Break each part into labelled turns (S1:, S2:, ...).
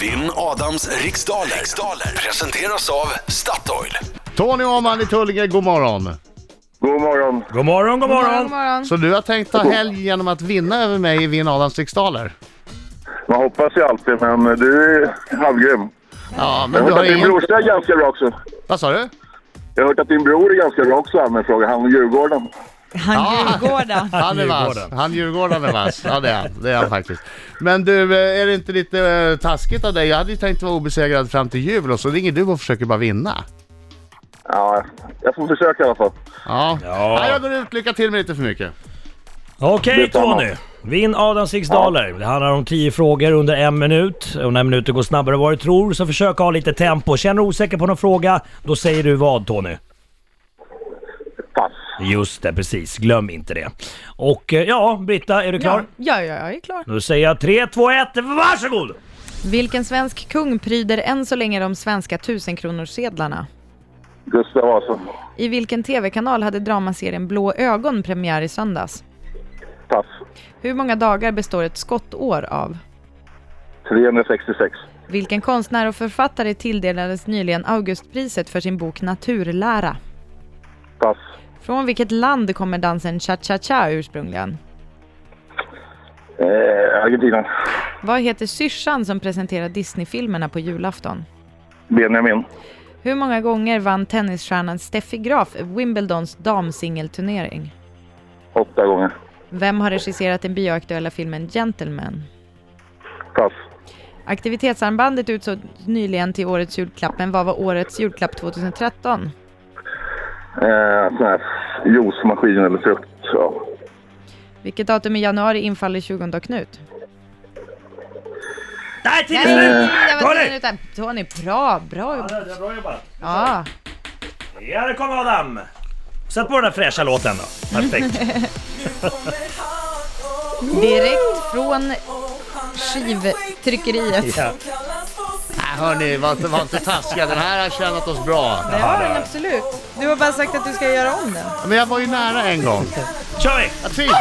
S1: Vinn Adams riksdaler. riksdaler presenteras av Statoil.
S2: Tony Åhman i Tullinge, god morgon.
S3: God morgon.
S4: God morgon, god
S5: morgon, god
S4: morgon!
S5: morgon.
S2: Så du har tänkt ta helg genom att vinna över mig i Vinn Adams riksdaler?
S3: Man hoppas ju alltid, men du är halvgrym.
S2: Ja,
S3: Jag
S2: men
S3: har
S2: du
S3: hört
S2: har
S3: att din
S2: ingen...
S3: brorsa är ganska bra också.
S2: Vad sa du?
S3: Jag har hört att din bror är ganska bra också, han med fråga. Han och Djurgården.
S2: Ja.
S6: Han Djurgården.
S2: Han är vass.
S4: Djurgården.
S2: Han Djurgården är vass. Ja, det är han. Det är han faktiskt. Men du, eh, är det inte lite eh, taskigt av dig? Jag hade ju tänkt vara obesegrad fram till jul och så ringer du och försöker bara vinna.
S3: Ja, jag får försöka i alla fall.
S2: Ja.
S4: Ja.
S2: Nej, jag går ut. Lycka till med lite för mycket.
S4: Okej
S3: Detsamma.
S4: Tony! Vinn Adams riksdaler. Det handlar om 10 frågor under en minut. Och när minuten går snabbare än vad du tror så försök ha lite tempo. Känner du osäker på någon fråga, då säger du vad Tony?
S3: Pass.
S4: Just det, precis. Glöm inte det. Och eh, ja, Britta, är du klar?
S5: Ja, ja, ja, jag är klar.
S4: Då säger jag 3, 2, 1, varsågod!
S5: Vilken svensk kung pryder än så länge de svenska tusenkronorssedlarna?
S3: Gustav Vasa.
S5: I vilken tv-kanal hade dramaserien Blå ögon premiär i söndags?
S3: Pass.
S5: Hur många dagar består ett skottår av?
S3: 366.
S5: Vilken konstnär och författare tilldelades nyligen Augustpriset för sin bok Naturlära?
S3: Pass.
S5: Från vilket land kommer dansen cha-cha-cha ursprungligen?
S3: Eh, Argentina.
S5: Vad heter syrsan som presenterar Disney-filmerna på julafton?
S3: Benjamin.
S5: Hur många gånger vann tennisstjärnan Steffi Graf Wimbledons damsingelturnering?
S3: Åtta gånger.
S5: Vem har regisserat den bioaktuella filmen Gentleman?
S3: Pass.
S5: Aktivitetsarmbandet utsågs nyligen till årets julklapp, men vad var årets julklapp 2013?
S3: Eh, sån här juicemaskin eller frukt. Ja.
S5: Vilket datum i januari infaller 20 och Knut?
S4: Nej, tiden är
S5: Nej,
S4: slut!
S5: Äh, jag var
S4: Tony!
S5: tvungen utan. Tony, bra, bra
S4: Ja,
S5: jobbat.
S4: det är Bra jobbat!
S5: Ja.
S4: Ja, det kommer Adam! Sätt på den där fräscha låten då. Perfekt.
S5: Direkt från skivtryckeriet.
S4: Ja.
S2: Nej, hörni, var inte, var inte taskiga. Den här har tjänat oss bra.
S5: Det har den absolut. Du har bara sagt att du ska göra om den.
S2: Men jag var ju nära en gång.
S4: Kör vi!
S2: Jag tvivl.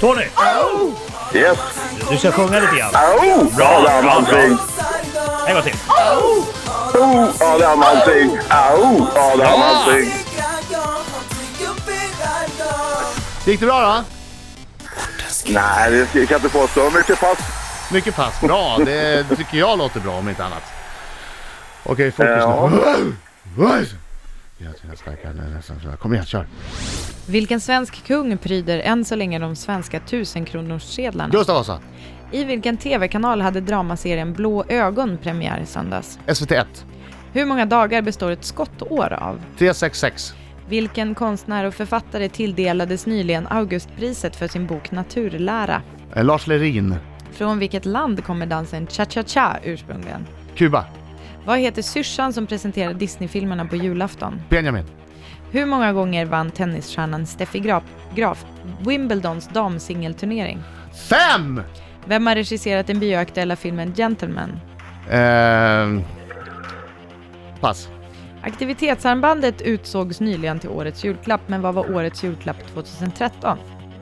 S4: Tony,
S3: Yes!
S4: du ska sjunga lite grann.
S3: Au! Adam Alsing!
S4: En gång till.
S3: Au! Adam Alsing! Au! Adam Alsing!
S2: Gick det bra då?
S3: Nej, det kan jag inte påstå. Mycket pass.
S2: Mycket pass. Bra. Det tycker jag låter bra om inte annat. Okej, fokus
S3: Ja.
S2: nu. Jag tror jag sparkar nu nästan så här. Kom igen, kör.
S5: Vilken svensk kung pryder än så länge de svenska tusenkronorssedlarna?
S2: Gustav Vasa.
S5: I vilken tv-kanal hade dramaserien Blå ögon premiär i söndags?
S2: SVT 1.
S5: Hur många dagar består ett skottår av?
S2: 366.
S5: Vilken konstnär och författare tilldelades nyligen Augustpriset för sin bok Naturlära?
S2: Eh, Lars Lerin.
S5: Från vilket land kommer dansen cha-cha-cha ursprungligen?
S2: Kuba.
S5: Vad heter syrsan som presenterar Disney-filmerna på julafton?
S2: Benjamin.
S5: Hur många gånger vann tennisstjärnan Steffi Graf, Graf Wimbledons damsingelturnering?
S2: Fem!
S5: Vem har regisserat den bioaktuella filmen Gentleman?
S2: Ehm... pass.
S5: Aktivitetsarmbandet utsågs nyligen till årets julklapp, men vad var årets julklapp 2013?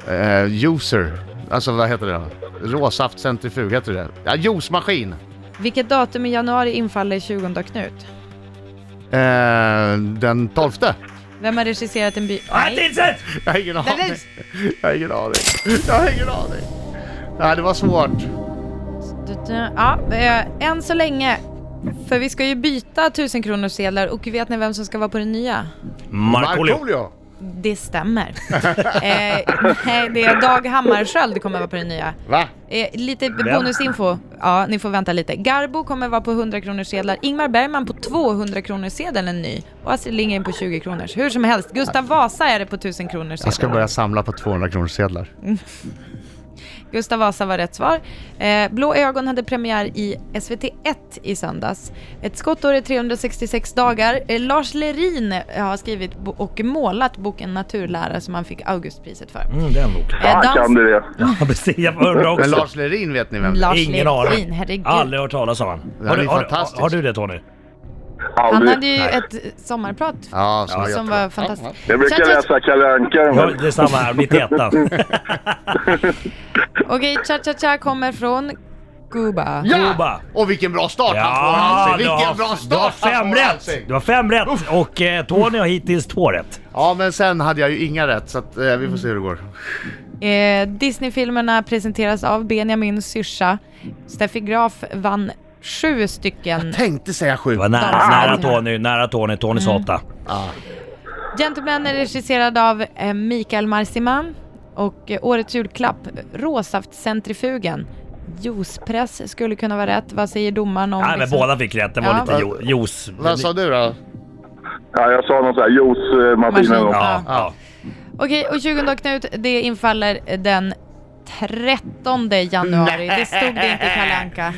S2: Eh, user. Alltså vad heter det då? Råsaftcentrifug heter det. Ja, juicemaskin.
S5: Vilket datum i januari infaller 20 Knut?
S2: Eh, den tolfte.
S5: Vem har regisserat den bio...
S4: Nej, tidsätt!
S2: Jag har ingen
S5: Den
S2: aning.
S5: är-
S2: Jag har ingen aning. Jag har ingen aning. Nej, det var svårt.
S5: Ja, eh, än så länge. För vi ska ju byta 1000 kronors sedlar och vet ni vem som ska vara på den nya?
S4: Markoolio.
S2: Markoolio.
S5: Det stämmer. eh, nej, det är Dag Hammarskjöld kommer vara på den nya.
S2: Va?
S5: Eh, lite bonusinfo. Ja, ni får vänta lite. Garbo kommer vara på 100 kronors sedlar. Ingmar Bergman på 200 kronors sedeln en ny. Och Astrid Lindgren på 20 kronors. Hur som helst, Gustav Vasa är det på 1000 kronors
S2: Jag ska
S5: sedeln.
S2: börja samla på 200 kronors sedlar.
S5: Gustav Vasa var rätt svar. Eh, Blå ögon hade premiär i SVT1 i söndags. Ett skottår är 366 dagar. Eh, Lars Lerin eh, har skrivit bo- och målat boken Naturlära som han fick Augustpriset för.
S4: Mm, den boken.
S5: Eh,
S3: Fan Ah, kan du det.
S4: Ja, precis. Jag undrar också.
S2: Men Lars Lerin vet ni vem det är?
S5: Lars
S4: Ingen
S5: Lerin,
S4: aning.
S5: herregud.
S4: Aldrig hört talas om han.
S2: Det här
S4: Har
S2: är
S4: du,
S2: ju
S4: har,
S2: fantastiskt.
S4: har, har du det Tony?
S5: Han
S3: Aldrig.
S5: hade ju ett eh, sommarprat
S2: Ja, som,
S5: som var fantastiskt.
S3: Jag brukar
S5: Cha-cha-cha.
S3: läsa Kalle Anka.
S4: Ja, det är samma här, mitt i ettan.
S5: Okej, cha-cha-cha kommer från Cuba.
S2: Ja!
S4: Cuba.
S2: Och vilken bra start han får
S4: Ja,
S2: Hansing!
S4: du
S2: Vilken
S4: har,
S2: bra
S4: du har
S2: start Alltså, han
S4: fem
S2: får,
S4: rätt!
S2: Hansing!
S4: Du har fem rätt och eh, Tony har hittills två rätt.
S2: Ja men sen hade jag ju inga rätt så att, eh, vi får se hur det går.
S4: Mm.
S5: Eh, Disney-filmerna presenteras av Benjamin syrsa. Steffi Graf vann sju stycken.
S2: Tänkte säga sju.
S4: Det var nära,
S5: Ah!
S4: nära Tony, nära Tony, Tony sa åtta.
S2: Mm.
S5: Gentlemen är regisserad av eh, Mikael Marsiman och eh, årets julklapp, råsaftcentrifugen. Juicepress skulle kunna vara rätt. Vad säger domaren om...
S4: Nej men
S5: liksom-
S4: båda fick rätt, den var
S5: Ja.
S4: lite jo, juice.
S2: Vad sa du då?
S3: Ja, jag sa någon sån här juicemaskin eller
S5: Maskin.
S3: något.
S4: Ja, ja.
S5: Okej, och 20 dagar Knut, det infaller den 13 januari. Det stod det inte i Kalle Anka.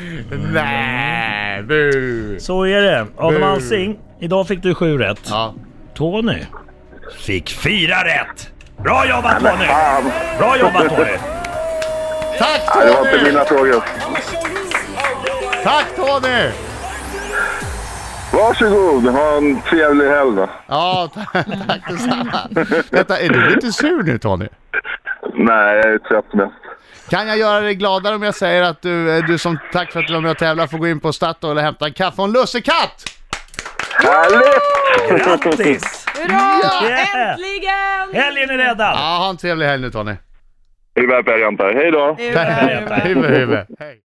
S2: Nej, bu.
S4: Så är det. Adam
S2: Bu.
S4: Alsing, idag fick du sju rätt.
S2: Ja.
S4: Tony fick fyra rätt! Bra jobbat Tony!
S3: Fan!
S4: Bra jobbat Tony!
S2: Tack
S3: Nej, det var inte
S2: Tony!
S3: mina frågor.
S2: Tack Tony!
S3: Varsågod, ha en trevlig helg då.
S2: Ja, ta- tack detsamma. Vänta, är du lite sur nu Tony?
S3: Nej, jag är trött mest.
S2: Kan jag göra dig gladare om jag säger att du, eh, du som tack för att du var med och tävlade får gå in på Statoil och hämta en kaffe och en lussekatt?
S3: Härligt!
S4: Grattis!
S5: Hurra!
S4: Yeah!
S5: Äntligen!
S4: Helgen är räddad!
S2: Ja, ha en trevlig helg nu Tony.
S3: Hyvää perjantai. Hej då!
S5: Tá, Hurra, hurra.
S2: Huvud, huvud. Hej.